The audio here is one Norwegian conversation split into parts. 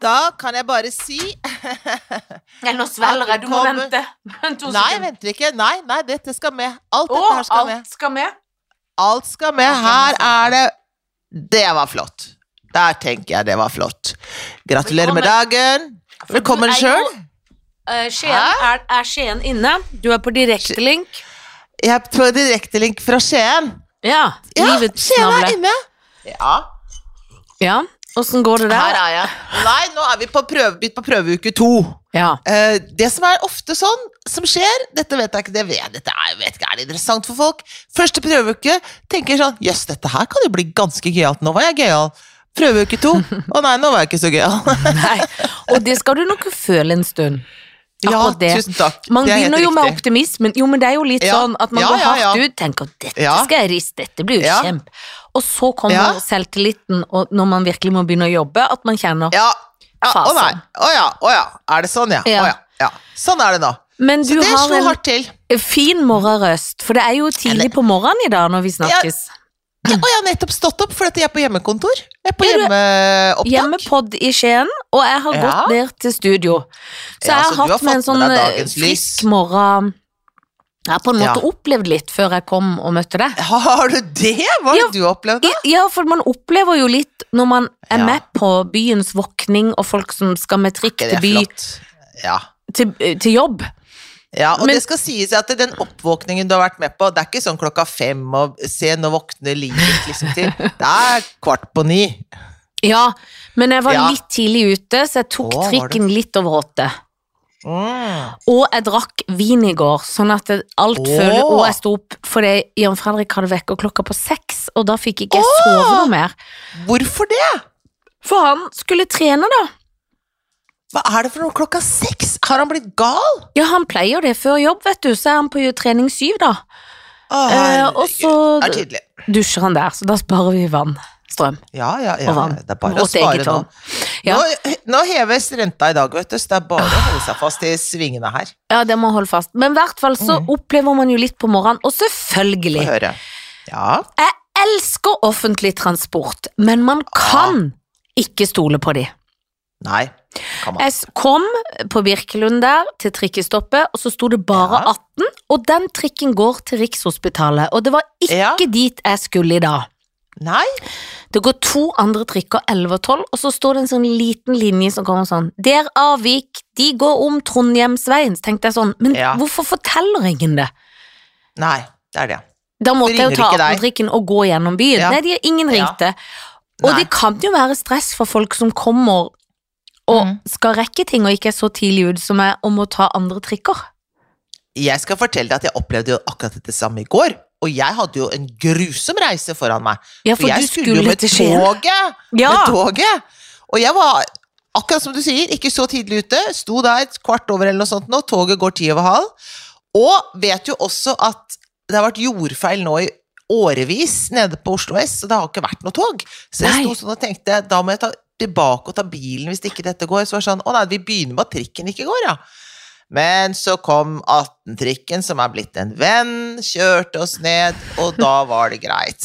Da kan jeg bare si Eller nå svelger jeg. Du må Kommer- vente. Vent to Nei, jeg sekunder. venter ikke. Nei, nei, dette skal med. Alt Å, dette her skal med. Sånn alt skal med. Alt skal med. Her er det Det var flott. Der tenker jeg det var flott. Gratulerer med dagen. Velkommen For du er jo- sjøl. Eh, Skien, er, er Skien inne? Du er på direktelink. Jeg er på direktelink fra Skien. Ja. Ja, livets Skien er navle. inne. Ja, Ja. Åssen går det her der? er jeg. Nei, nå er vi på prøve, begynt på prøveuke to. Ja. Eh, det som er ofte sånn, som skjer Dette vet jeg ikke, det vet, dette er, jeg vet ikke, er det interessant for folk? Første prøveuke tenker jeg sånn Jøss, dette her kan jo bli ganske gøyalt. Nå var jeg gøyal. Prøveuke to. Å nei, nå var jeg ikke så gøyal. Nei. Og det skal du nok føle en stund. ja, Akkurat det. tusen takk. Man det er helt begynner jo med riktig. optimismen. Jo, men det er jo litt Ja. sånn at man Ja, går ja, hardt ja. ut. Tenker 'dette Ja. skal jeg riste, dette blir jo Ja. kjempe'. Og så kommer Ja. selvtilliten, og når man virkelig må begynne å jobbe, at man kjenner Ja. ja å Fasen. nei. Å ja, å ja. Er det sånn, ja? Ja. Å ja. ja. Sånn er det nå. Men Så du det har slo en hardt til. fin morgenrøst, for det er jo tidlig på morgenen i dag når vi snakkes. Ja, og jeg har nettopp stått opp, for at jeg er på hjemmekontor. Jeg er på Ja, du- hjemmeopptak. Hjemmepodd i Skien, og jeg har Ja. gått ned til studio. Så Ja, jeg så har du har hatt med en fått sånn med deg eh, dagens lys. frisk morgen Jeg har på en Ja. måte opplevd litt før jeg kom og møtte deg. Har du det? Hva har Ja. du opplevd? da? Ja, for man opplever jo litt når man er Ja. med på byens våkning og folk som skal med trikk Det til er by, flott. Ja. til, eh, til jobb. Ja, og Men- det skal sies at den oppvåkningen du har vært med på, det er ikke sånn klokka fem og se, nå våkner livet liksom til. Det er kvart på ni. Ja, men jeg var Ja. litt tidlig ute, så jeg tok Å, var trikken litt over åtte. Mm. Og jeg drakk vin i går, sånn at det- alt Å. føles Og jeg sto opp fordi Jan Fredrik hadde vekkerklokka på seks, og da fikk ikke jeg sove noe mer. Hvorfor det? For han skulle trene, da. Hva er det for noe klokka seks? Har han blitt gal? Ja, han pleier det før jobb, vet du. Så er han på trening syv, da. Å, Eh, og herregud. så- Det er tydelig. Dusjer han der, så da sparer vi vann. Strøm. Ja, ja, ja. Og vann. Det er bare å Vårt spare nå. eget vann. Ja. nå. Nå heves renta i dag, vet du, så det er bare å holde seg fast i svingene her. Ja, det må holde fast. Men i hvert fall så opplever man jo litt på morgenen, og Mm. Få selvfølgelig høre. Ja. Jeg elsker offentlig transport, men man Ah. kan ikke stole på de. Nei. Kan man. Jeg s- kom på Birkelund der, til trikkestoppet, og så sto det bare Ja. 18, og den trikken går til Rikshospitalet, og det var Ja. ikke dit jeg skulle i dag. Nei? Det går to andre trikker, 11 og 12, og så står det en sånn liten linje som kommer sånn Der avvik, de går om Trondheimsveien. Så tenkte jeg sånn, men Ja. hvorfor forteller ingen det? Nei, det er det. Da måtte jeg ringer jo ta ikke deg. 18-trikken og gå gjennom byen. Ja. Nei, de, ingen Ja. ringte. Og Nei. det kan jo være stress for folk som kommer og Mhm. skal rekke ting og ikke er så tidlig ute som jeg, og må ta andre trikker. Jeg skal fortelle deg at jeg opplevde jo akkurat dette samme i går. Og jeg hadde jo en grusom reise foran meg. Ja, for jeg du skulle, jo med til Skien. toget! Ja. Med toget! Og jeg var, akkurat som du sier, ikke så tidlig ute. Sto der et kvart over eller noe sånt nå. Toget går ti over halv. Og vet jo også at det har vært jordfeil nå i årevis nede på Oslo S, så det har ikke vært noe tog. Så jeg Nei. sto sånn og tenkte, da må jeg ta tilbake og ta bilen hvis ikke dette går. Så var det sånn, å nei, vi begynner med at trikken ikke går, ja. Men så kom 18-trikken, som er blitt en venn, kjørte oss ned, og da var det greit.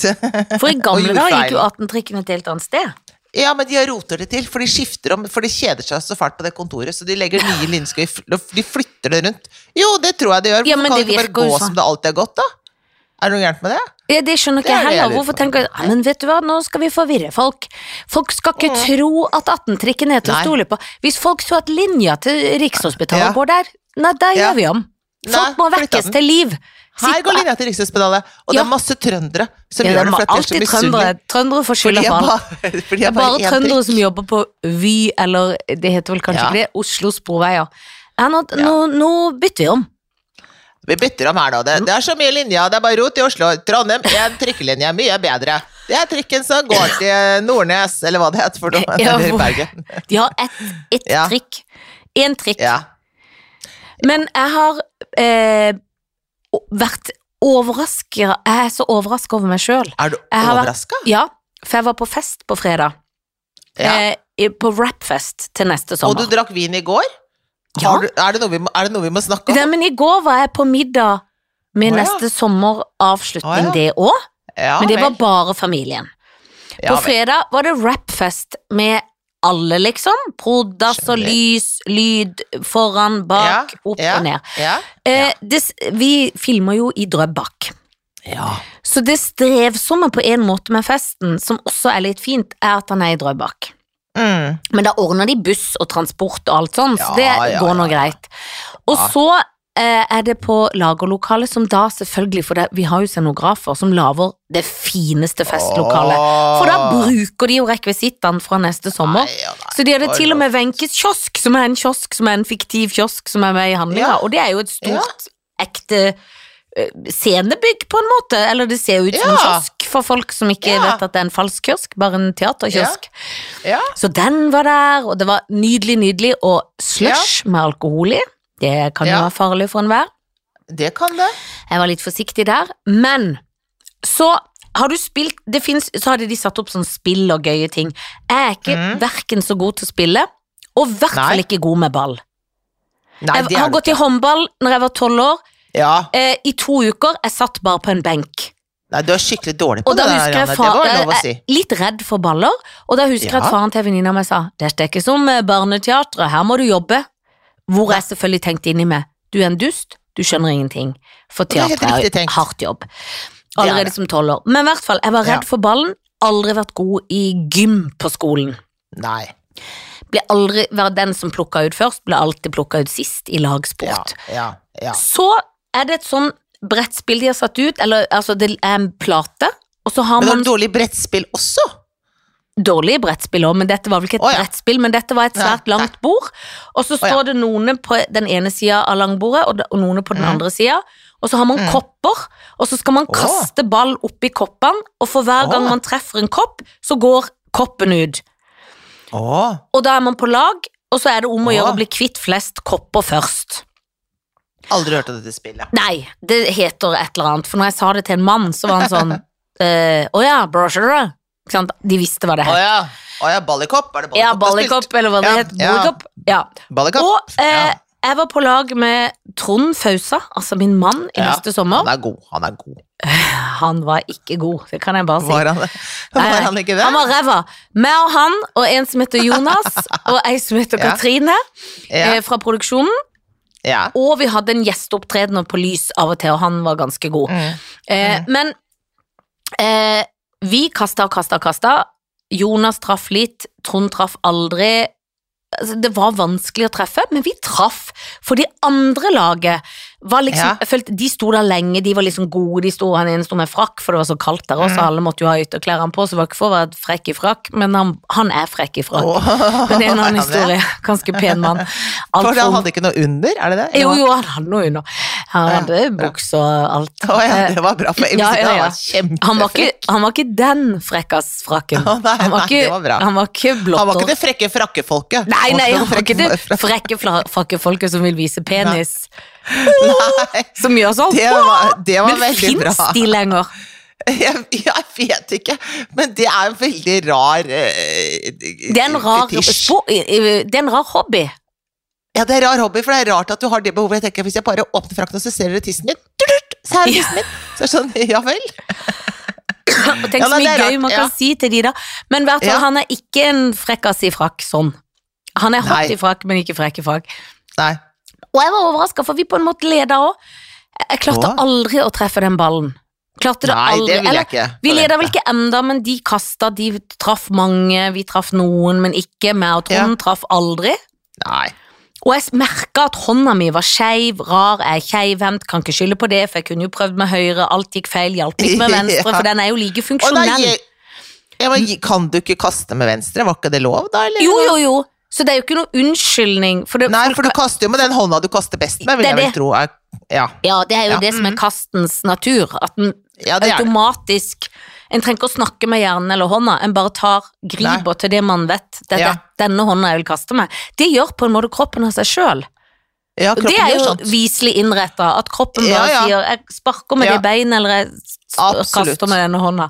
For i gamle Og dager jordfeil. gikk jo 18-trikken et helt annet sted. Ja, men de roter det til, for de skifter om, for de kjeder seg så fælt på det kontoret, så de legger nye linjer, de flytter det rundt. Jo, det tror jeg det gjør. Ja, Hvorfor men kan det det ikke virker bare jo gå sånn. som det alltid har gått, da? Er det noe gærent med det? Ja, det skjønner Det er ikke jeg det jeg heller. lurer Hvorfor på. tenker jeg ja, Men vet du hva, nå skal vi forvirre folk. Folk skal ikke tro at 18-trikken er til å Mm. Nei. stole på. Hvis folk så at linja til Rikshospitalet Ja. går der, nei, da Ja. gjør vi om. Folk Nei, må flytta vekkes den. til liv. Her Sitt går på- linja til Rikshospitalet, og det Ja. er masse trøndere som Ja, det gjør det må for at de er så alltid trøndere. misunnelige. Trøndere får For de skylda er for alt. bare, for de Det er er bare én trøndere trikk. som jobber på Vy, eller det heter vel kanskje Ja. ikke det, Oslo Sporveier. Ja, nå, Ja. nå, nå bytter vi om. Vi bytter om her nå. Det, det er så mye linjer. Det er bare rot i Oslo. Trondheim, én trikkelinje er mye bedre. Det er trikken som går til Nordnes, eller hva det heter for noe. Ja, eller hvor- Bergen. De har ett et Ja. trikk. Én trikk. Ja. Men jeg har eh, o- vært overrasket Jeg er så overrasket over meg sjøl. Er du Jeg har vært- overraska? Ja, for jeg var på fest på fredag. Ja. Eh, i- på rapfest til neste Og sommer. du drakk vin i går? Ja. Har du, er, det noe vi må, er det noe vi må snakke om? Nei, men i går var jeg på middag med Å, ja. neste sommeravslutning, Å, ja. det òg. Ja, Men det vel. var bare familien. Ja, på vel. fredag var det rapfest med alle, liksom. Prodas og Skjønner. lys, lyd foran, bak, opp ja. og ned. Ja. Eh, det, s- vi filmer jo i Drøbak. ja. Så det strevsomme på en måte med festen, som også er litt fint, er at han er i Drøbak. Mm. Men da ordner de buss og transport og alt sånt, så det Ja, ja, går nå ja, ja. greit. Og Ja. så eh, er det på lagerlokalet, som da selvfølgelig, for det, vi har jo scenografer som lager det fineste festlokalet. For da bruker de jo rekvisittene fra neste sommer. Nei, ja, nei. Så de hadde Oi, til og oi. med Wenches kiosk, som er en kiosk som er en fiktiv kiosk som er med i handlinga, Ja. og det er jo et stort, ekte eh, scenebygg, på en måte. Eller det ser ut som en Ja. kiosk for folk som ikke Ja. vet at det er en falsk kiosk, bare en teaterkiosk. Ja. Så den var der, og det var nydelig, nydelig, og slush med alkohol i. Det kan jo Ja. være farlig for enhver. Det kan det. Jeg var litt forsiktig der, men så har du spilt det finnes, Så hadde de satt opp sånn spill og gøye ting. Jeg er ikke Mhm. verken så god til å spille, og i hvert Nei. fall ikke god med ball. Nei, jeg det har er det. gått i håndball når jeg var tolv år, Ja. eh, i to uker. Jeg satt bare på en benk. Nei, du er skikkelig dårlig på Og da det der, husker jeg Janne. Det far- var lov å eh, si. Litt redd for baller, og da husker jeg Ja. at faren til venninna mi sa Dette er ikke som eh, barneteatret, her må du jobbe. Hvor jeg selvfølgelig tenkte inni meg Du er en dust, du skjønner ingenting. For Det er helt teater er riktig jo tenkt. hardt jobb. er Allerede det. som tolvår. Men i hvert fall, jeg var Ja. redd for ballen. Aldri vært god i gym på skolen. Nei. Ble aldri vært den som plukka ut først, ble alltid plukka ut sist Ja, i lagsport. ja, ja. Så er det et sånn brettspill de har satt ut, eller altså det er en plate, og så har Men har man du dårlig i brettspill også? dårlig brettspill òg, men dette var vel ikke et Å, ja. brettspill, men dette var et Nei, svært langt bord. Og så ja. står det noen på den ene sida av langbordet, og da- og noen på den Mm. andre sida. Og så har man Mm. kopper, og så skal man Å. kaste ball oppi koppene, og for hver Å. gang man treffer en kopp, så går koppen ut. Å, Og da er man på lag, og så er det om å Å. gjøre å bli kvitt flest kopper først. aldri hørt om dette spillet. Nei, det heter et eller annet, for når jeg sa det til en mann, så var han sånn eh, Å ja, broshere. Ikke sant? De visste hva det Å het. ja. Å ja, ballikopp. Er det ballikopp Ja, du har spilt? ballikopp, eller hva det Ja, het. ja. Ballikopp. Ja. Ballikopp. Og eh, Ja. jeg var på lag med Trond Fausa, altså min mann, i Ja, neste sommer. Han er god. Han er god. Han var ikke god, det kan jeg bare si. Var han, Nei, nei. var han ikke det? Han var ræva. Meg og han, og en som heter Jonas, og ei som heter Ja. Katrine, Ja. eh, fra produksjonen. ja. Og vi hadde en gjesteopptredener på Lys av og til, og han var ganske god. Mm. Eh, men eh, vi kasta og kasta og kasta. Jonas traff litt, Trond traff aldri. Altså, Det var vanskelig å treffe, men vi traff. For de andre laget var liksom Ja. jeg følte, De sto der lenge, de var liksom gode. De sto, han ene sto med frakk, for det var så kaldt der også, Mm. alle måtte jo ha ytterklærne på, så det var ikke for å være frekk i frakk, men han, han er frekk i frakk. Å, Men det er en er han annen det? historie. Ganske pen mann. Alt For for- han hadde ikke noe under, er det det? Jo, jo, han hadde noe under. Han Ja, hadde bra. bukse og alt. Å ja, det var bra. For jeg Eh, Ja, visste ja, ikke, ja. Han Han var var ikke, kjempefrekk. han var ikke den frekkasfrakken. Å, nei, Han var nei, ikke, det var bra. han var ikke Han var blotter. ikke det frekke frakkefolket. Nei, nei, han var ikke frekke det fra- frekke fra- frakkefolket som vil vise penis. Nei, Som gjør sånn. det var, det var Men veldig bra. fins de lenger? Jeg, jeg vet ikke, men det er en veldig rar eh, Det er en rar, fetisj. spo- i- i- det er en rar hobby. Ja, det er rar hobby, for det er rart at du har det behovet. Jeg tenker, Hvis jeg bare åpner frakten, så ser dere tissen min. Tutut, Så er det tissen min. Så er det sånn, ja vel. Og tenk Ja, så nei, mye det er gøy rart, man ja. kan si til de, da. Men i hvert fall, Ja. han er ikke en frekkas i frakk sånn. Han er hot Nei. i frakk, men ikke frekk i frakk. Nei. Og jeg var overraska, for vi på en måte leda òg. Jeg klarte Å. aldri å treffe den ballen. Klarte det Nei, aldri. det vil Eller, jeg ikke. Vi leder vel forvente. ikke enda, men de kasta, de traff mange, vi traff noen, men ikke meg og Trond traff aldri. Nei. Og jeg merka at hånda mi var skeiv, rar, jeg er keivhendt, kan ikke skylde på det, for jeg kunne jo prøvd med høyre, alt gikk feil, hjalp ikke med venstre, Ja. for den er jo like Å, nei, funksjonell. jeg, ja, men, kan du ikke kaste med venstre? Var ikke det lov, da? Eller? Jo, jo, jo, så det er jo ikke noe unnskyldning, for det, Nei, for du kaster jo med den hånda du kaster best med, vil Det er jeg vel det. tro. er- Ja, ja, det er jo Ja, det som er kastens natur, at den ja det er det. automatisk en trenger ikke å snakke med hjernen eller hånda, en bare tar griper til det man vet. Det er Ja. det- denne hånda jeg vil kaste med. Det gjør på en måte kroppen av seg sjøl. Ja, Og det kroppen er gjør jo sånt. viselig innretta, at kroppen Ja, bare ja. sier 'jeg sparker med Ja. det beinet', eller 'jeg s- Absolutt. kaster med denne hånda'.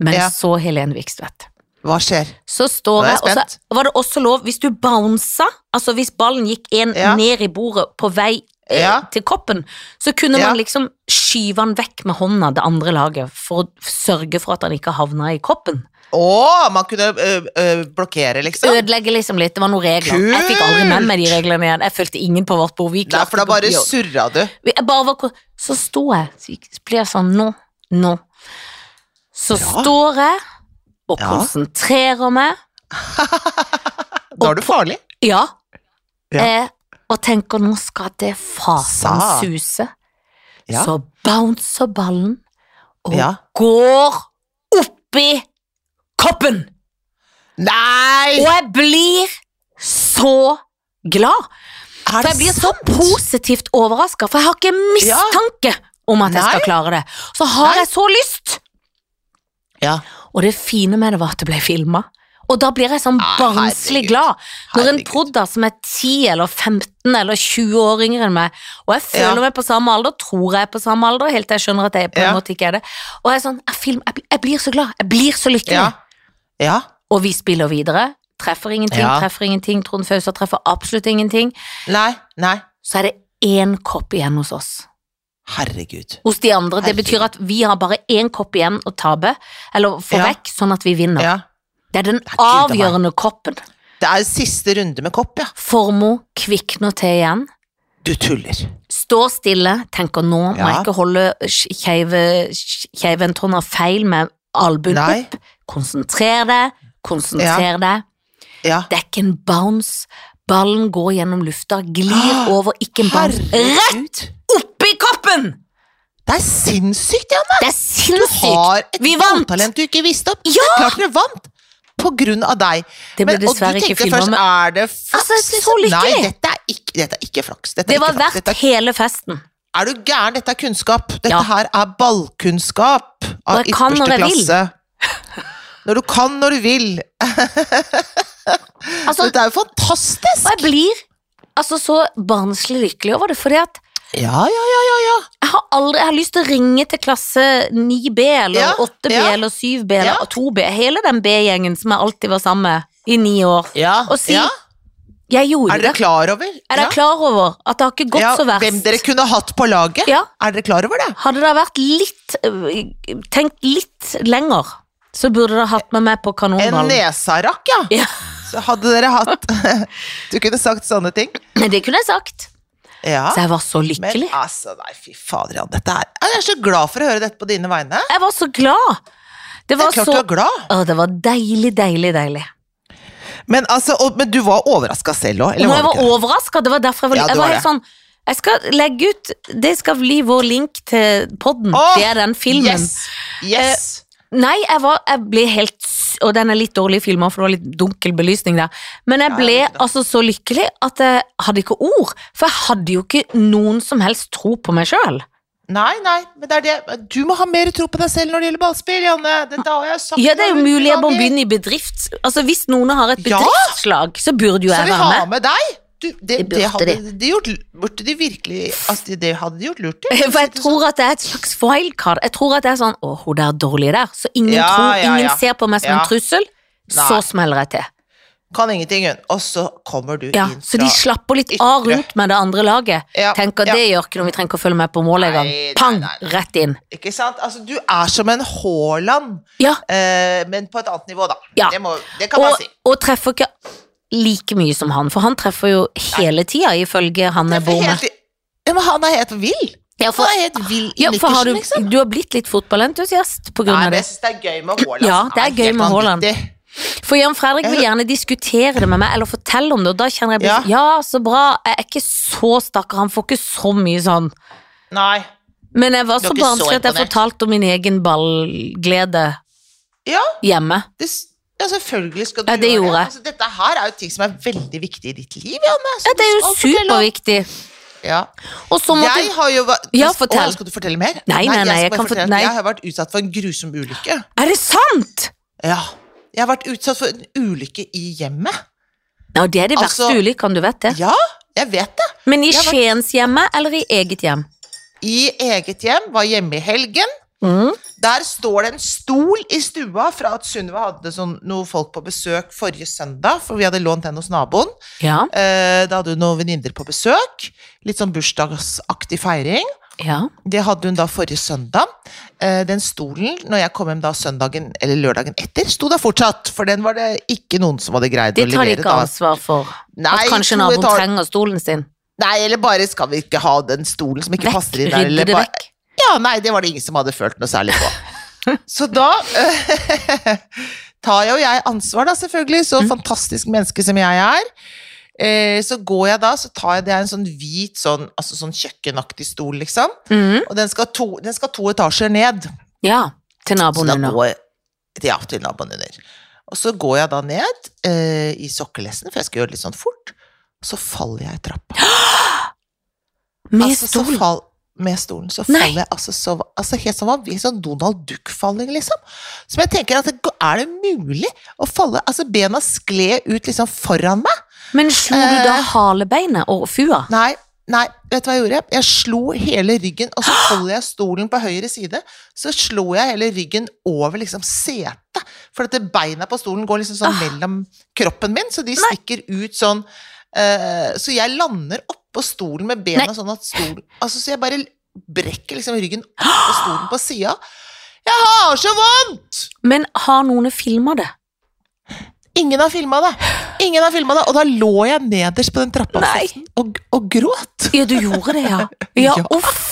Men Ja. så, Helene Vikstvedt, Hva skjer? så står Nå er jeg, jeg og så spent. var det også lov, hvis du bounsa, altså hvis ballen gikk en Ja. ned i bordet på vei eh, Ja. til koppen, så kunne Ja. man liksom skyve han vekk med hånda det andre laget, for å sørge for at han ikke havna i koppen. Å, man kunne ø, ø, blokkere, liksom? Ødelegge liksom litt. Det var noen regler. Jeg fikk aldri med meg de reglene igjen. Jeg fulgte ingen på vårt bord. Vi Nei, for da klarte bare ikke å- surra du. Vi- jeg bare var ko- Så sto jeg. Så gikk- så ble jeg sånn Nå. Nå. Så Bra. står jeg og Ja. konsentrerer meg. Da er du farlig. Ja. Ja. Eh, og tenker nå skal det fasen Sa. suse. Ja. Så bouncer ballen og Ja. går oppi koppen! Nei! Og jeg blir så glad. Er For jeg blir så positivt overraska, for jeg har ikke mistanke om at jeg skal Nei. klare det. Så har Nei. jeg så lyst! Ja. Og det fine med det var at det ble filma. Og da blir jeg sånn Ah, herregud. barnslig glad. Når en Herregud. prodda som er 10 eller 15 eller 20 år yngre enn meg, og jeg føler Ja. meg på samme alder, tror jeg er på samme alder, helt til jeg skjønner at jeg på en Ja. måte ikke er det. Og jeg er sånn, jeg, film, jeg, blir- jeg blir så glad, jeg blir så lykkelig. Ja. ja. Og vi spiller videre, treffer ingenting, Ja. treffer ingenting, Trond Fausa treffer absolutt ingenting. Nei. Nei. Så er det én kopp igjen hos oss. Herregud. Hos de andre. Det Herregud. betyr at vi har bare én kopp igjen å tape, eller få Ja. vekk, sånn at vi vinner. Ja. Det er den Gud, det er meg. avgjørende koppen. Det er siste runde med kopp, ja. Formo kvikner til igjen. Du tuller. Står stille, tenker nå må jeg Ja. ikke holde sk- keive- sk- keiventonna feil med albuen Nei. opp. Konsentrer deg, konsentrer deg. Ja. Det er ikke en bounce. Ballen går gjennom lufta, glir over, ikke en bounce. Rett Ah, Herregud. oppi koppen! Det er sinnssykt, Janne! Det er Du sinnssykt. har et Vi vant! talent du ikke visste opp. Ja! Det er klart dere vant! På grunn av deg. Det ble Men- og du dessverre ikke tenkte filma, først, men Er det flaks? Altså, jeg er så Nei, lykkelig. dette er ikke, dette er ikke flaks. Dette er ikke det var flaks. verdt Dette er, hele festen. er du gæren? Dette er kunnskap. Dette Ja. her er ballkunnskap av Og jeg kan når ypperste jeg vil. klasse. Når du kan når du vil. Altså, dette er jo og jeg fantastisk! blir altså så barnslig lykkelig over det, fordi at Ja, ja, ja, ja, ja. Jeg har aldri, jeg har lyst til å ringe til klasse 9B, eller Ja, 8B, ja. eller 7B, eller Ja. 2B, hele den B-gjengen som jeg alltid var sammen med i ni år. ja. Og si, ja. Jeg gjorde Er dere det. klar over? Er dere klar over at det har ikke gått ja, så verst? Hvem dere kunne hatt på laget? Ja, Er dere klar over det? hadde det vært litt, øh, tenkt litt lenger, så burde dere hatt med meg på En kanonballen. nesarakk, ja. Ja. Så hadde dere hatt Du kunne sagt sånne ting. Men det kunne jeg sagt. Ja. Så jeg var så Men lykkelig. altså, nei, fy fader, Jan. Dette er Jeg er så glad for å høre dette på dine vegne. Jeg var så glad. Det Det var er klart så... du er glad. Å, det var deilig, deilig, deilig. Men, altså, og, men du var overraska selv òg, Nå, eller jeg var var du ikke? overrasket, det var derfor jeg var, Ja, du jeg var var helt sånn Jeg skal legge ut, det skal bli vår link til podden Åh, Det er den filmen Yes! Eh, yes. Nei, jeg, var, jeg ble helt s- Og den er litt dårlig filmer, for det var litt dunkel belysning der Men jeg Ja, ble litt da. altså så lykkelig at jeg hadde ikke ord For jeg hadde jo ikke noen som helst tro på meg selv Nei, nei, men det er det Du må ha mer tro på deg selv når det gjelder ballspill, Janne. Dette har jeg sagt Ja, det er jo hundre mulig jeg må ganger. begynne i bedrift Altså hvis noen har et Ja! bedriftslag Så burde jo Så vi jeg være har med med deg! Du, det, Det burde det hadde de gjort Burde de virkelig altså, Det hadde de gjort lurt i. For jeg tror at det er et slags wildcard. Jeg tror at det er sånn Å, hun der dårlige der. Så ingen, Ja, tror, ja, ingen ja. ser på meg som Ja. en trussel. Så Nei. smeller jeg til. Kan ingenting, hun. Og så kommer du Ja, inn så de fra slapper litt av ytre. rundt med det andre laget. Ja, Tenker ja. det gjør ikke noe, vi trenger ikke å følge med på målet engang. Nei, nei, Pang! nei, nei. Rett inn. Ikke sant? Altså, du er som en Haaland, Ja. eh, men på et annet nivå, da. Ja. Det, må, det kan man Og, si. og treffer ikke like mye som han, for han treffer jo hele tida, ifølge han jeg Det er bor med. helt, ja, men han er helt vill. Ja, for, Han er helt vill i ja, for nikkersen, har du, liksom. du har blitt litt fotballentusiast på Nei, grunn av men det. jeg synes det er gøy med Haaland. Ja, Han det er gøy helt med Haaland. vanvittig. For Jan Fredrik vil gjerne diskutere det med meg, eller fortelle om det, og da kjenner jeg Ja. blir ja. så bra, jeg er ikke så stakkar, han får ikke så mye sånn. Nei. Men jeg var Du er så ikke så barnslig at jeg imponert. fortalte om min egen ballglede Ja, hjemme. det, s- ja, selvfølgelig skal du Ja, det gjøre gjorde jeg. Altså, dette her er jo ting som er veldig viktig i ditt liv, Janne. som Ja, det er du skal jo fortelle om. superviktig. Ja. Og så måtte Jeg har jo vært Ja, Å, fortell. skal du fortelle mer? Nei, nei, jeg nei, skal jeg bare kan fort- fortelle at nei. Jeg har vært utsatt for en grusom ulykke. Er det sant?! Ja. Jeg har vært utsatt for en ulykke i hjemmet. Ja, det er de verste Altså- ulykkene, du vet det. Ja, jeg vet det. Men i Jeg var- Skiens hjemme, eller i eget hjem? I eget hjem, var hjemme i helgen. Mm. Der står det en stol i stua fra at Sunniva hadde sånn, noen folk på besøk forrige søndag, for vi hadde lånt den hos naboen. Ja. Eh, da hadde hun noen venninner på besøk. Litt sånn bursdagsaktig feiring. Ja. Det hadde hun da forrige søndag. Eh, Den stolen, når jeg kom hjem da søndagen eller lørdagen etter, sto der fortsatt. For den var det ikke noen som hadde greid Det å tar de levere. ikke da. ansvar for. Nei, At kanskje to naboen etasjer- trenger stolen sin. Nei, eller bare skal vi ikke ha den stolen som ikke Vekk, passer inn der. rydde Eller det bare, vekk. Ja, nei, det var det ingen som hadde følt noe særlig på. Så da eh, tar jo jeg ansvar, da, selvfølgelig, Mm. så fantastisk menneske som jeg er. Eh, så går jeg da, så tar jeg det er en sånn hvit sånn, altså sånn kjøkkenaktig stol, liksom. Mhm. Og den skal to, den skal to etasjer ned. Ja, til Så naboen da under. går jeg ja, til naboen under. Og så går jeg da ned eh, i sokkelesten, for jeg skal gjøre det litt sånn fort. Og så faller jeg i trappa. Med altså, stol. Så fall, med stolen. Så Nei. faller jeg altså så altså, Helt sånn vanvittig sånn Donald Duck-falling, liksom. Som jeg tenker at det, går- er det mulig å falle Altså, bena skled ut liksom foran meg. Men slo du da Eh. halebeinet og fua? Nei, nei, vet du hva jeg gjorde? Jeg slo hele ryggen, og så holder jeg stolen på høyre side. Så slo jeg hele ryggen over liksom setet. For at det beina på stolen går liksom Ah. sånn mellom kroppen min, så de stikker ut sånn. eh, så jeg lander oppå stolen med bena Nei. sånn at stolen Altså, så jeg bare brekker liksom ryggen oppå Ah. stolen på sida. Jeg har så vondt! Men har noen filma det? Ingen har filma det. Ingen har filmet det. Og da lå jeg nederst på den trappa Nei. og, og gråt. Ja, du gjorde det, ja. Ja, Ja. uff.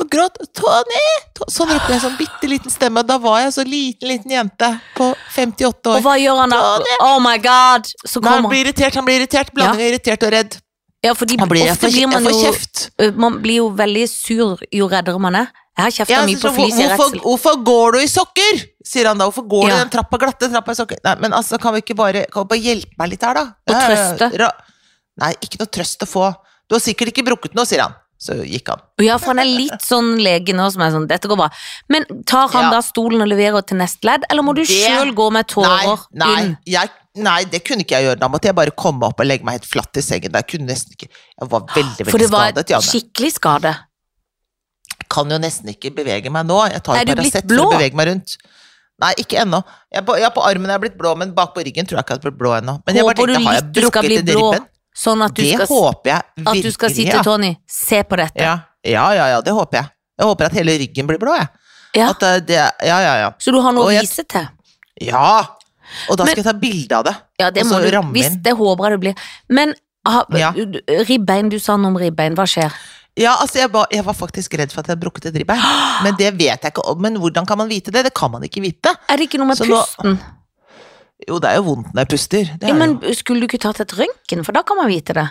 og gråt 'Tony!' To- Sånn ropte jeg sånn bitte liten stemme, og da var jeg så liten, liten jente på 58 Og år. hva gjør han da? Oh my god! Så Nei, han kommer blir irritert, han blir irritert, blanding av irritert og redd. Ja, fordi Han blir, jeg, ofte får, blir man jeg får jo kjeft. Uh, Man blir jo veldig sur jo reddere man er. Jeg har kjefta Ja, mye så på hvor- flis i hvorfor, redsel. hvorfor går du i sokker? sier han da. Hvorfor går du Ja. i den trappa, glatte trappa i sokker? Nei, men altså, kan vi ikke bare, kan vi bare hjelpe meg litt her, da? Og Ja, ja, trøste. ra- Nei, ikke noe trøst å få. Du har sikkert ikke brukket noe, sier han. Så gikk han. Ja, for han er litt sånn lege nå som er sånn 'dette går bra'. Men tar han Ja. da stolen og leverer til neste ledd, eller må du Det- sjøl gå med Nei, tårer nei, inn? jeg, nei, det kunne ikke jeg gjøre. Da måtte jeg bare komme opp og legge meg helt flatt i sengen. Jeg kunne nesten ikke Jeg var veldig, For veldig det var skadet, Janne. skikkelig skade. Kan jo nesten ikke bevege meg nå. Jeg tar Er du jo blitt Paracet for blå? å bevege meg rundt. Nei, ikke ennå. Jeg, på- ja, på armen er jeg blitt blå, men bak på ryggen tror jeg ikke jeg har blitt blå ennå. Men jeg bare Håper du tenkte, har jeg litt du skal brukket bli en blå, ribben? sånn at du, Det skal, håper jeg at du skal si virkelig, til ja. Tony 'se på dette'. Ja. ja, ja, ja, det håper jeg. Jeg håper at hele ryggen blir blå, jeg. Ja. At eh, det Ja, ja, ja. Så du har noe Og å jeg- vise til. Ja! Og da Men- skal jeg ta bilde av det. Ja, det Og må så du, ramme hvis inn. det håper jeg det blir. Men ha, Ja. du- ribbein, du sa noe om ribbein, hva skjer? Ja, altså jeg var, jeg var faktisk redd for at jeg hadde brukket et ribbein. Men det vet jeg ikke om. Men hvordan kan man vite det? Det kan man ikke vite. Er det ikke noe med Så nå- pusten? Jo, det er jo vondt når jeg puster. Det er Ja, det men jo. skulle du ikke tatt et røntgen, for da kan man vite det.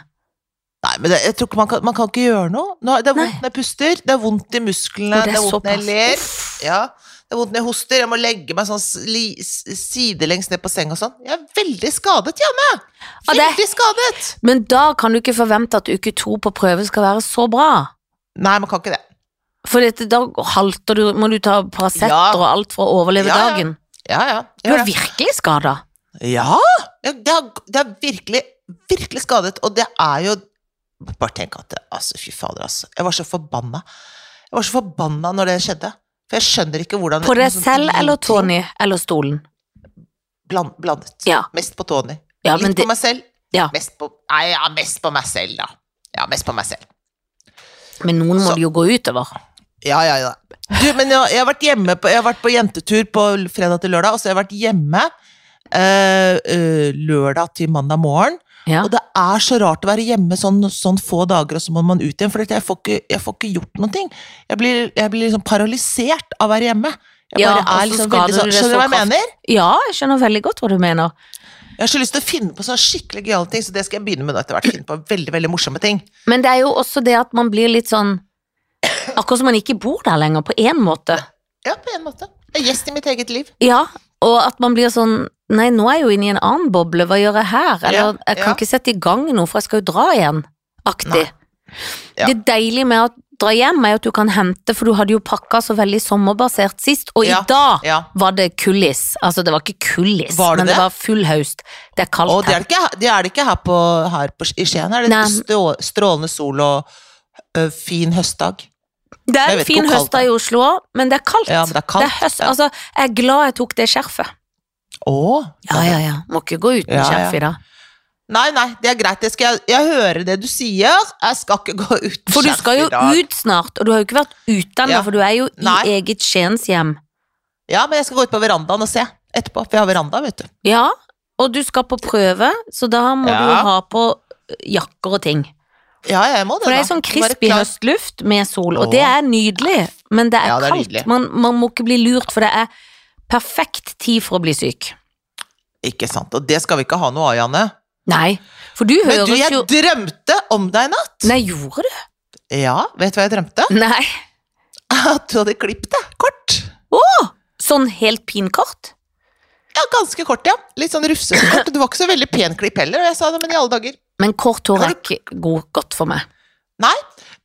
Nei, men det, jeg tror ikke man kan, man kan ikke gjøre noe. Nå, det er vondt når jeg puster, det er vondt i musklene, Og det er, vondt når jeg ler. Uff. Ja, det er vondt når jeg hoster. Jeg må legge meg sånn sli, s- sidelengs ned på seng og sånn. Jeg er veldig skadet, Janne! Ja, det- Veldig skadet! Men da kan du ikke forvente at uke to på prøve skal være så bra. Nei, man kan ikke det. For dette, da halter du, må du ta Paracet Ja. og alt for å overleve Ja, ja. dagen. Ja, ja. Du jeg gjør er det. virkelig skada. Ja! ja, Det er, det er virkelig, virkelig skadet, og det er jo Bare tenk at det, altså, Fy fader, altså. Jeg var så forbanna. Jeg var så forbanna når det skjedde. For jeg skjønner ikke hvordan På deg en sånn selv eller liten ting- Tony eller stolen. Bland, Blandet. Ja. Mest på Tony. Ja, men Litt det, på meg selv. Ja. Mest på, nei, ja, mest på meg selv, da. Ja, mest på meg selv. men noen må Så- det jo gå utover. Ja, ja, ja. Du, men jeg, jeg, har vært hjemme på, jeg har vært på jentetur på fredag til lørdag, og så har jeg vært hjemme eh, eh, lørdag til mandag morgen. Ja. Og det er så rart å være hjemme sånn, sånn få dager, og så må man ut igjen. For jeg får ikke, jeg får ikke gjort noen ting. Jeg blir, jeg blir liksom paralysert av å være hjemme. Jeg Ja, bare og så er liksom skader veldig du sånn, det Skjønner du så hva jeg kraftig. mener? ja, jeg skjønner veldig godt hva du mener. Jeg har så lyst til å finne på sånne skikkelig gøyale ting, så det skal jeg begynne med nå etter hvert. Finne på veldig, veldig morsomme ting. Men det er jo også det at man blir litt sånn Akkurat som man ikke bor der lenger, på én måte. Ja, på en måte. Jeg er gjest i mitt eget liv. Ja, og at man blir sånn Nei, nå er jeg jo inne i en annen boble, hva gjør jeg her? Eller Ja, jeg kan ja. ikke sette i gang noe, for jeg skal jo dra igjen. Aktig. Nei. Ja. Det deilige med å dra hjem er jo at du kan hente, for du hadde jo pakka så veldig sommerbasert sist, og Ja. i dag Ja. var det kullis. Altså, det var ikke kullis, Var det men det, det? var full høst. Det er kaldt Og det er her. det ikke, det er det ikke her, på, her på, i Skien. Er det Nei. stå, strålende sol og ø, fin høstdag? Det Jeg er vet ikke fin hvor kaldt høst det er. i Oslo òg, men det er kaldt. Ja, men det er kaldt, høst. ja. Altså, jeg er glad jeg tok det skjerfet. Å! Ja, ja, ja. Må ikke gå uten Ja, ja. skjerf i dag. Nei, nei, det er greit. Jeg, skal, jeg hører det du sier. Jeg skal ikke gå ut For du skal jo ut snart, og du har jo ikke vært utdannet, Ja. for du er jo i Nei. eget skjenshjem. Ja, men jeg skal gå ut på verandaen og se etterpå. For jeg har veranda, vet du. Ja, og du skal på prøve, så da må Ja. du jo ha på jakker og ting. Ja, jeg må det. For det da. er sånn Være crispy klar. høstluft med sol, Åh. og det er nydelig, men det er Ja, det er kaldt. nydelig. Man, man må ikke bli lurt, for det er perfekt tid for å bli syk. Ikke sant. Og det skal vi ikke ha noe av, Janne. Nei, for du Men du, høres jeg jo drømte om deg i natt. Nei, gjorde du? Ja, vet du hva jeg drømte? Nei. At du hadde klippet deg kort. Sånn helt pinkort? Ja, ganske kort, ja. Litt sånn rufsete kort. og Du var ikke så veldig pen klipp heller, og jeg sa det, men i alle dager. Men kort hår Har er ikke god, godt for meg. Nei,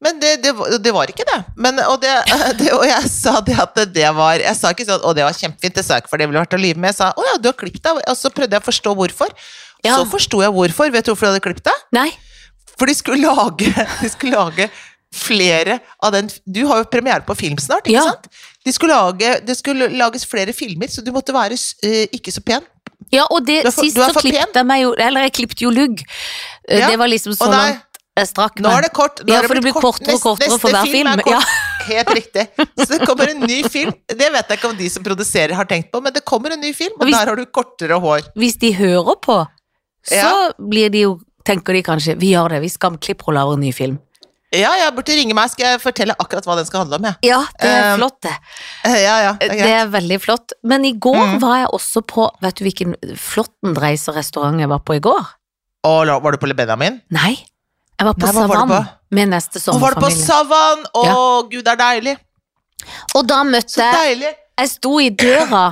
men det, det, var- det var ikke det. Men, og, det, det. og jeg sa det at det var Jeg sa ikke sånn 'Å, det var kjempefint', det sa jeg ikke, for det ville vært å lyve, men jeg sa 'Å ja, du har klippet deg', og så prøvde jeg å forstå hvorfor. Ja. Så forsto jeg hvorfor. Vet du hvorfor du hadde klippet deg? Nei. For de skulle lage, de skulle lage flere av den Du har jo premiere på film snart, ikke Ja. sant? De skulle lage, det skulle lages flere filmer, så du måtte være s- eh, ikke så pen. Ja, og det, Du er for- sist du er så for pen. klippet jeg meg jo Eller jeg klippet jo lugg. Eh, Ja. Det var liksom Å så nei. langt jeg strakk meg. Nå er det kort. Nå Ja, er for det blitt blir kort. kortere og kortere Neste- for hver neste er film, kort. ja. Helt riktig. Så det kommer en ny film. Det vet jeg ikke om de som produserer har tenkt på, men det kommer en ny film, og Hvis- der har du kortere hår. Hvis de hører på, så Ja. blir de jo Tenker de kanskje Vi gjør det, vi skamklipper og lager en ny film. Ja, jeg burde ringe meg, skal jeg fortelle akkurat hva den skal handle om, jeg. Ja, det er Eh, flott, det. Eh, Ja, ja, det er Det greit. er veldig flott. Men i går Mm. var jeg også på Vet du hvilken Flåttendreiser-restaurant jeg var på i går? Og la- var du på Le Benjamin? Nei. Jeg var på Nei, hva var du Savann på? med neste Og var du på sommerfamilie. Savan? Å, gud, det er deilig. Og da møtte Så jeg deilig. Jeg sto i døra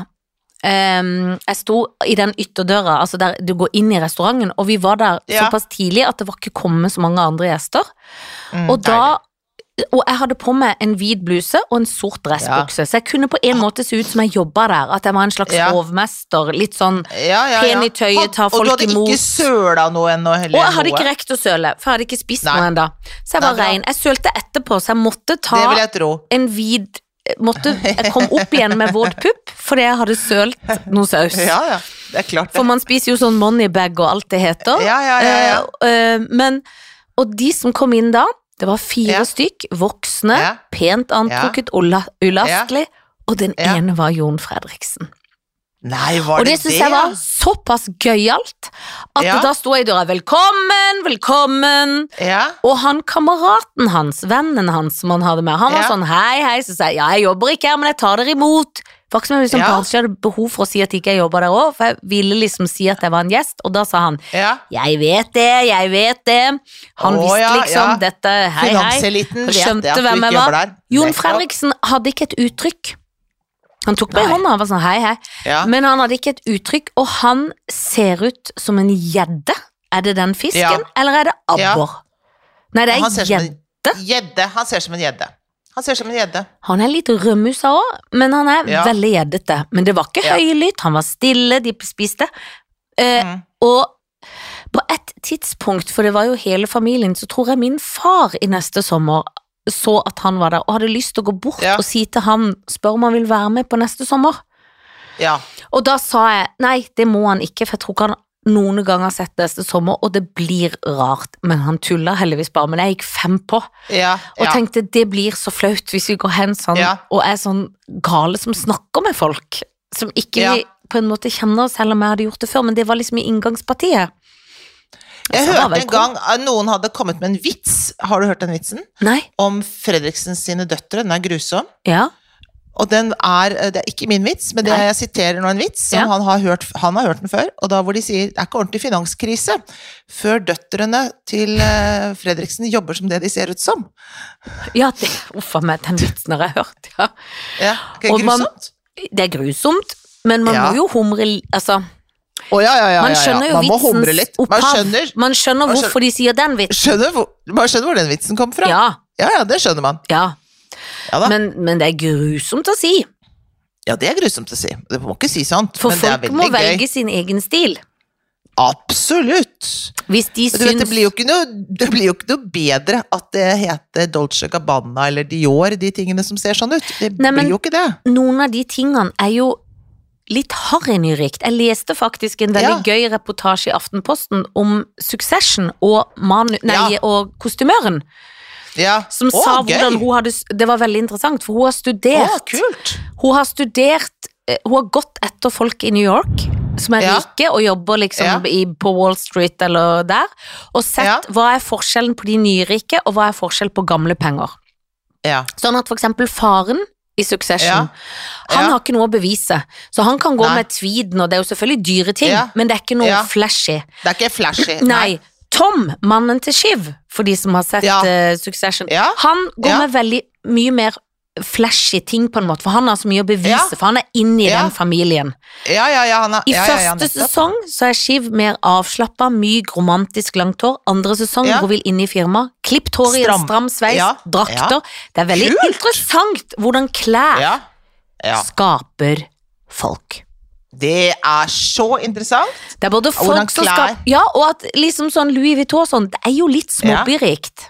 ehm, Jeg sto i den ytterdøra Altså der du går inn i restauranten Og vi var der Ja. såpass tidlig At det var ikke kommet så mange andre gjester Mm, Og da og jeg hadde på meg en hvit bluse og en sort dressbukse, så jeg kunne på en måte se ut som jeg jobbet der, at jeg var en slags Ja. hovmester, litt sånn, deilig. ja, ja, ja. pen i tøyet, Hadde- ta folk Og du hadde imot. ikke søla noe ennå heller? og jeg hadde ikke noe. rekt å søle, for jeg hadde ikke spist Nei. noe enda. Så jeg Nei, var bra. rein. Jeg sølte etterpå, så jeg måtte ta Det vil jeg tro. en hvit, måtte, jeg kom opp igjen med våt pupp, fordi jeg hadde sølt noe saus. Ja, ja. Det er klart, For det. man spiser jo sånn moneybag og alt det heter. Ja, ja, ja. ja. Eh, eh, men, og de som kom inn da, det var fire Ja. stykk, voksne, Ja. pent antrukket, ulla- ulastelig, og den Ja. ene var Jon Fredriksen. Nei, var Og det det det? synes jeg var såpass gøyalt, at Ja. da sto jeg i døra, velkommen, velkommen. ja. Og han kameraten hans, vennen hans som han hadde med, han var Ja. sånn hei, hei, så sa jeg ja, jeg jobber ikke her, men jeg tar dere imot. Det var ikke som om jeg liksom Ja. kanskje hadde behov for å si at ikke jeg jobba der òg, for jeg ville liksom si at jeg var en gjest, og da sa han ja. jeg vet det, jeg vet det. Han Å, visste ja, liksom ja. dette, hei, hei. Finanseliten Jeg vet skjønte det at du hvem ikke jeg jobber var. der. Jon Nettopp. Fredriksen hadde ikke et uttrykk. Han tok meg i Nei. hånda og var sånn hei, hei, Ja. men han hadde ikke et uttrykk, og han ser ut som en gjedde. Er det den fisken, Ja. eller er det abbor? Nei, det Han er ser som en gjedde. Gjedde. Han ser som en gjedde. Han ser som en gjedde. Han er litt rømmusa òg, men han er Ja. veldig gjeddete. Men det var ikke Ja. høylytt, han var stille, de spiste. Eh, Mm. Og på et tidspunkt, for det var jo hele familien, så tror jeg min far i neste sommer så at han var der, og hadde lyst til å gå bort Ja. og si til han, spør om han vil være med på neste sommer. Ja. Og da sa jeg nei, det må han ikke, for jeg tror ikke han noen ganger har sett neste sommer, og det blir rart. Men han tulla heldigvis bare, men jeg gikk fem på. Ja. Og ja. tenkte det blir så flaut hvis vi går hen sånn Ja. og er sånn gale som snakker med folk. Som ikke Ja. vi på en måte kjenner, selv om jeg hadde gjort det før, men det var liksom i inngangspartiet. Jeg sa bare hørte en velkommen. gang at noen hadde kommet med en vits, har du hørt den vitsen? Nei. Om Fredriksen sine døtre. Den er grusom. Ja. Og den er, eh, det er ikke min vits, men det Nei. jeg siterer nå en vits som Ja. han, har hørt, han har hørt den før, og da hvor de sier det er ikke ordentlig finanskrise før døtrene til eh, Fredriksen jobber som det de ser ut som. ja det, uff a meg, den vitsen har jeg hørt, ja. Ja, ikke Og man- grusomt? Det er grusomt, men man Ja. må jo humre li- Altså, Å, ja, ja, ja, man ja, ja. skjønner jo Man må humre litt. vitsens Man opphav. skjønner, Man skjønner Man skjønner- hvorfor de sier den vitsen. skjønner, hvor, man skjønner hvor den vitsen kom fra. Ja. Ja, ja, det skjønner man. ja. Ja, da. Men, men det er grusomt å si. ja, det er grusomt å si. Det må ikke si sånt, For men det er folk må veldig gøy. velge sin egen stil. Absolutt. Hvis de Men du vet, syns det blir jo ikke noe, det blir jo ikke noe bedre at det heter Dolce Gabbana eller Dior, de tingene som ser sånn ut. Det Nei, men- blir jo ikke det. noen av de tingene er jo litt harrynyrikt. Jeg leste faktisk en veldig gøy reportasje i Aftenposten om Succession og, manu nei, Ja. og kostymøren. Ja. Som Å, sa gøy. hvordan hun hadde s- Det var veldig interessant, for hun har Å, studert kult! Hun har studert eh, Hun har gått etter folk i New York som er Ja. rike og jobber liksom Ja. i, på Wall Street eller der, og sett Ja. hva er forskjellen på de nyrike, og hva er forskjell på gamle penger. Ja. Sånn at for eksempel faren i Succession, Ja. han Ja. har ikke noe å bevise. Så han kan gå Nei. med tweeden, og det er jo selvfølgelig dyre ting, Ja. men det er ikke noe Ja. flashy. Det er ikke flashy. Nei. Tom, mannen til Shiv, for de som har sett Ja. eh, Succession, Ja. han går Ja. med veldig mye mer flashy ting på en måte, for han har så mye å bevise, Ja. for han er inne i Ja. den familien. Ja, ja, ja, han er, I ja, ja, ja, første nettopp. sesong så er Shiv mer avslappa, myk, romantisk, langt hår. Andre sesong Ja. går vil inn i firmaet. Klippet hår i en Stram. stram sveis, Ja. drakter. Ja. Det er veldig Kult! interessant hvordan klær Ja. ja. skaper folk. Det er så interessant. Det er både hvordan folk som klær- skaper Ja, og at liksom sånn Louis Vuitton og sånn, det er jo litt Ja. småbyrikt.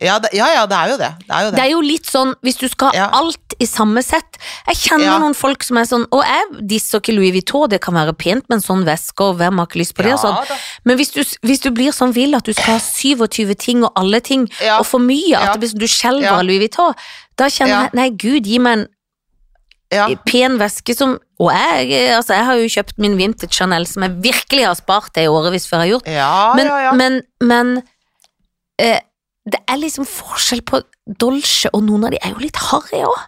Ja, det, ja, ja, det er jo det. Det er jo Det det. er jo litt sånn, hvis du skal ha Ja. alt i samme sett Jeg kjenner Ja. noen folk som er sånn Og jeg disser ikke Louis Vuitton, det kan være pent med en sånn veske, og hvem har ikke lyst på det? og Ja, sånn. da. Men hvis du, hvis du blir sånn vill at du skal ha 27 ting og alle ting, Ja. og for mye, at Ja. det blir sånn du skjelver Ja. av Louis Vuitton, da kjenner Ja. jeg Nei, gud, gi meg en Ja. pen veske som Og jeg, eh, altså, jeg har jo kjøpt min vintage Chanel, som jeg virkelig har spart det i årevis før jeg har gjort. Ja, Men, ja, ja. men, men eh, det er liksom forskjell på Dolce, og noen av de er jo litt harry òg.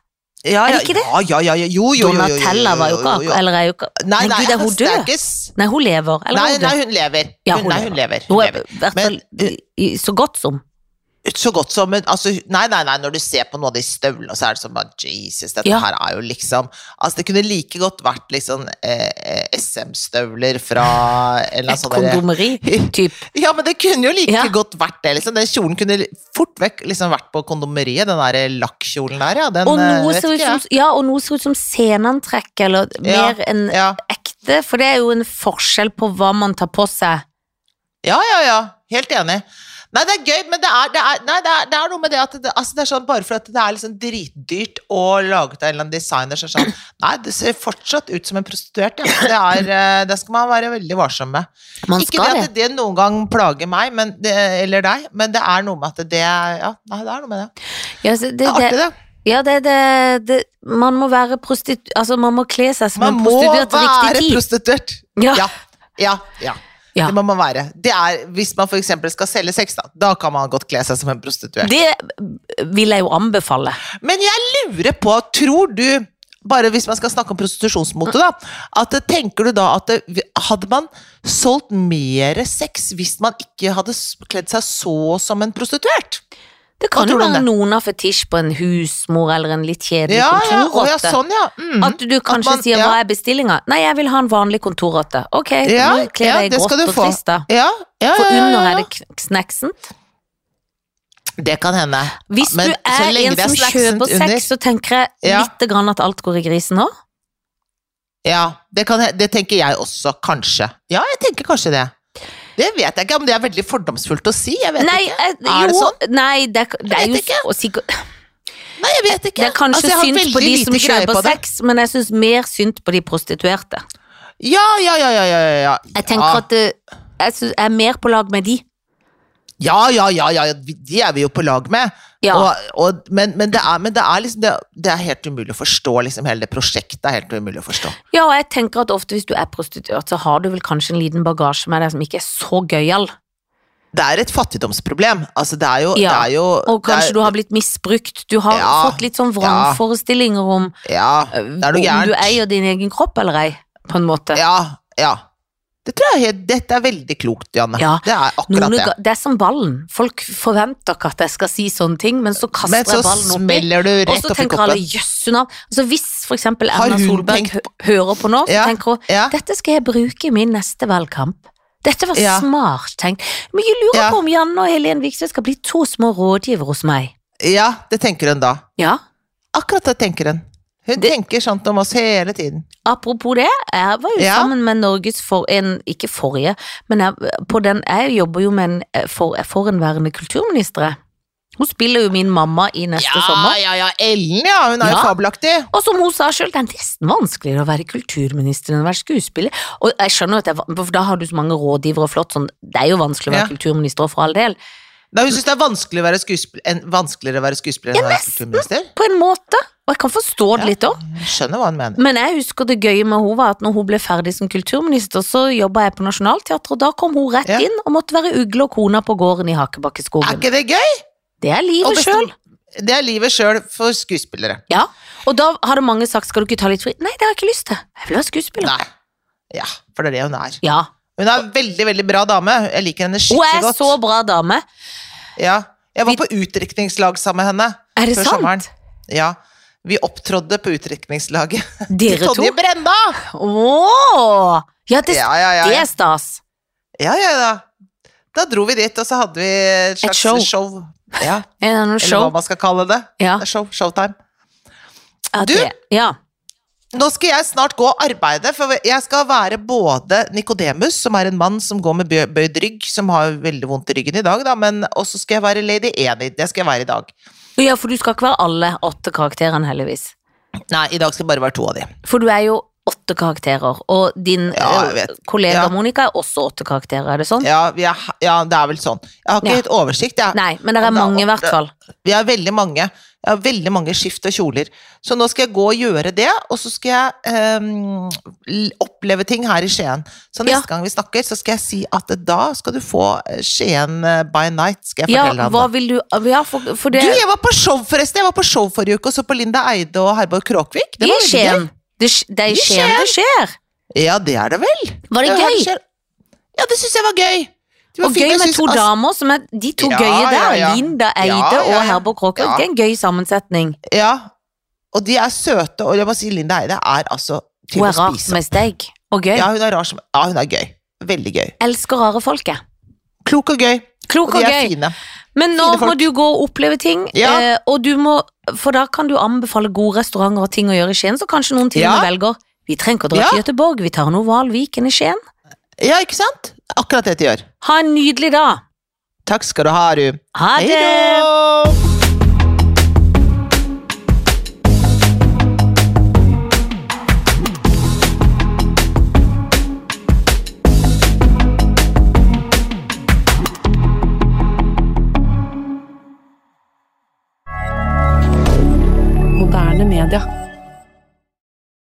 ja, er det ja, ikke det? Ja, ja, ja, ja. Jo, jo, jo, jo, jo, jo, Donatella var jo jo, jo. ikke akkurat Eller er jo ikke Nei, Nei, nei, gud, er hun altså, det død? ikke s- Nei, hun lever. Eller Nei, er hun død? nei, hun lever. Ja, Hun, hun nei, lever. hun lever. Hun Hun er lever. i hvert fall i- i- så godt som. Så godt som men altså, Nei, nei, nei, når du ser på noen av de støvlene, så er det sånn bare Jesus, dette Ja. her er jo liksom Altså, det kunne like godt vært liksom eh, eh, SM-støvler fra en eller annen Et sånn derre- kondomeri, typ. Ja, men det kunne jo like Ja. godt vært det, liksom. Den kjolen kunne fort vekk liksom vært på kondomeriet, den der lakkjolen der, ja. Den Og noe, eh, vet ser ut ikke som, jeg. ja, og noe ser ut som scenantrekk, eller Ja, mer enn ja. ekte, for det er jo en forskjell på hva man tar på seg. ja, ja, ja. Helt enig. Nei, det er gøy, men det er, det er, nei, det er, det er noe med det at det, altså, det er sånn bare for at det er liksom dritdyrt og laget av en eller annen designer som er sånn Nei, det ser fortsatt ut som en prostituert, ja. Det, er, eh, det skal man være veldig varsom med. Man ikke skal det det. at det noen gang plager meg, men det, eller deg, men det er noe med at det Ja, nei, det er noe med det. Ja, så det, Det er det, artig, det. ja, det, det, det Man må være prostitu... Altså, man må kle seg som Man en må prostituert til være riktig tid. prostituert. Ja. Ja. ja, ja. Ja. Det må man være. Det er, hvis man f.eks. skal selge sex, da, da kan man godt kle seg som en prostituert. Det vil jeg jo anbefale. Men jeg lurer på, tror du bare hvis man skal snakke om prostitusjonsmote, da. At det- tenker du da at det, hadde man solgt mer sex hvis man ikke hadde s- kledd seg så som en prostituert? Det kan Hva jo tror du om være det? noen har fetisj på en husmor eller en litt kjedelig Ja, ja, å, kontorrotte. ja sånn, ja. Mm. At du kanskje man- sier ja. 'hva er bestillinga'? Nei, jeg vil ha en vanlig kontorrotte. Ok, Ja, nå kler ja, jeg det skal grått du og få. trist, da. ja, ja, For ja, ja, under ja. er det kn- kneksent. Det kan hende. Hvis Men du så er lenge en det er som snacksent kjøper under- sex, så tenker jeg Ja. lite grann at alt går i grisen nå. Ja, det, kan, det tenker jeg også, kanskje. Ja, jeg tenker kanskje det. Det vet jeg ikke, men det er veldig fordomsfullt å si. Jeg vet Nei, ikke. jeg, jo, Er det sånn? nei, det, er- det er Jeg jo vet ikke. og sikkert, Nei, jeg vet ikke. Det er kanskje Altså, jeg har synd på veldig de som lite greie kjøper på det. sex, men jeg syns mer synd på de prostituerte. Ja, ja, ja, ja, ja, ja, ja. Jeg tenker at det, jeg, synes, jeg er mer på lag med de. Ja, ja, ja, ja, ja, vi- de er vi jo på lag med. Ja. Og, og, men, men, det er, men det er liksom det, det er helt umulig å forstå, liksom hele det prosjektet er helt umulig å forstå. Ja, og jeg tenker at ofte hvis du er prostituert, så har du vel kanskje en liten bagasje med deg som ikke er så gøyal. Det er et fattigdomsproblem. Altså, det er jo, Ja, det er jo Og kanskje det du er, har blitt misbrukt. Du har Ja. fått litt sånn vrangforestillinger om Ja, det er noe om du gærent. eier din egen kropp eller ei, på en måte. Ja, ja. Det tror jeg, helt- dette er veldig klokt, Janne. Ja. Det er akkurat Noen det. ga- det er som ballen. Folk forventer ikke at jeg skal si sånne ting, men så kaster Men så jeg ballen oppi. smeller du Og rett så opp i tenker alle koppen. jøss hun har altså Hvis for eksempel Har Erna hun Solberg tenkt hø- hører på nå, så Ja, tenker hun ja. dette skal jeg bruke i min neste valgkamp. Dette var Ja. smart tenkt. Men jeg lurer Ja. på om Janne og Helen Vikstvedt skal bli to små rådgivere hos meg. Ja, det tenker hun da. Ja, Akkurat det tenker hun. Hun Det- tenker sånt om oss hele tiden. Apropos det, jeg var jo Ja. sammen med Norges for en, ikke forrige, men jeg, på den, jeg jobber jo med en eh, for, forhenværende kulturminister. jeg. Hun spiller jo min mamma i neste sommer. ja, ja. Ellen, ja. Hun er jo Ja. fabelaktig. Og som hun sa sjøl, det er nesten vanskeligere å være kulturminister enn å være skuespiller. Og jeg skjønner jo at det er, van- for da har du så mange rådgivere og flott sånn, det er jo vanskelig å være Ja. kulturminister og for all del. Nei, hun syns det er vanskelig å være skuespill- en- vanskeligere å være skuespiller enn å være kulturminister. På en måte. Og jeg kan forstå det litt òg. Jeg skjønner hva hun mener. Men jeg husker det gøye med henne var at når hun ble ferdig som kulturminister, så jobba jeg på Nationaltheatret, og da kom hun rett Ja. inn og måtte være ugle og kona på gården i Er Hakebakkeskogen. ikke det gøy? Det er Og livet bestem- sjøl. Det er livet sjøl for skuespillere. Ja. Og da hadde mange sagt 'skal du ikke ta litt fri'? Nei, det har jeg ikke lyst til. Jeg vil være skuespiller. Nei. Ja, for det er det hun er. Ja. Hun er en veldig, veldig bra dame. Jeg liker henne Hun skikkelig er godt. så bra dame. Ja. Jeg var på utdrikningslag sammen med henne. Er det før sant? sommeren. Ja. Vi opptrådte på utdrikningslaget. Til Dere to. Tonje Brenda! Ååå! Ja, det, Ja, ja, ja. det ja. er stas. ja, ja, ja. Da dro vi dit, og så hadde vi et slags show. show. Ja, Er det eller noe hva show? man skal kalle det. Ja. Det er Show, showtime. ja, Du? det- Ja. Nå skal jeg snart gå og arbeide, for jeg skal være både Nikodemus, som er en mann som går med bø- bøyd rygg, som har veldig vondt i ryggen i dag, da, men også skal jeg være Lady Edith. Det skal jeg være i dag. ja, for du skal ikke være alle åtte karakterene, heldigvis. Nei, i dag skal det bare være to av de. For du er jo åtte karakterer, og din Ja, jeg eh, vet. kollega Ja. Monica er også åtte karakterer, er det sånn? Ja, vi er, ja det er vel sånn. Jeg har ikke Ja. helt oversikt, jeg. Nei, men det er Men det er mange i hvert åtte. fall. Vi har veldig mange. Jeg har veldig mange skift og kjoler. Så nå skal jeg gå og gjøre det, og så skal jeg ehm, l- oppleve ting her i Skien. Så neste Ja. gang vi snakker, så skal jeg si at da skal du få eh, Skien eh, by night, skal jeg Ja, fortelle hva deg. vil du Ja, for, for Du, det jeg var på show forresten. Jeg var på show forrige uke og så på Linda Eide og Herborg Kråkvik. Det var I veldig Skien. Det, sk- det er i I Skien det skjer. gøy. Ja, det er det vel. Var det Ja, gøy? skjer. Ja, det syns jeg var gøy. Det var Og fint, gøy jeg med synes- to altså, damer som er de to Ja, gøye der. ja, ja. Linda Eide Ja, ja, og ja. Herborg Kråkvik. Ja. Det er en gøy sammensetning. Ja. Og de er søte, og jeg må si Linda Eide er altså til Hun å er rar spise. som en steig. Og gøy. Ja, hun er rar som Ja, hun er gøy. Veldig gøy. Elsker rare folk, jeg. Klok og gøy. Og Klok de og er gøy. fine. Men nå Fine folk. må du gå og oppleve ting. Ja. eh, Og du må, for da kan du anbefale gode restauranter og ting å gjøre i Skien, så kanskje noen til og Ja. med velger. Vi trenger ikke å dra Ja. til Göteborg, vi tar en oval Viken i Skien. Ja, ikke sant? Akkurat det de gjør. Ha en nydelig dag. Takk skal du ha, Aru. Ha det! da! Moderne media.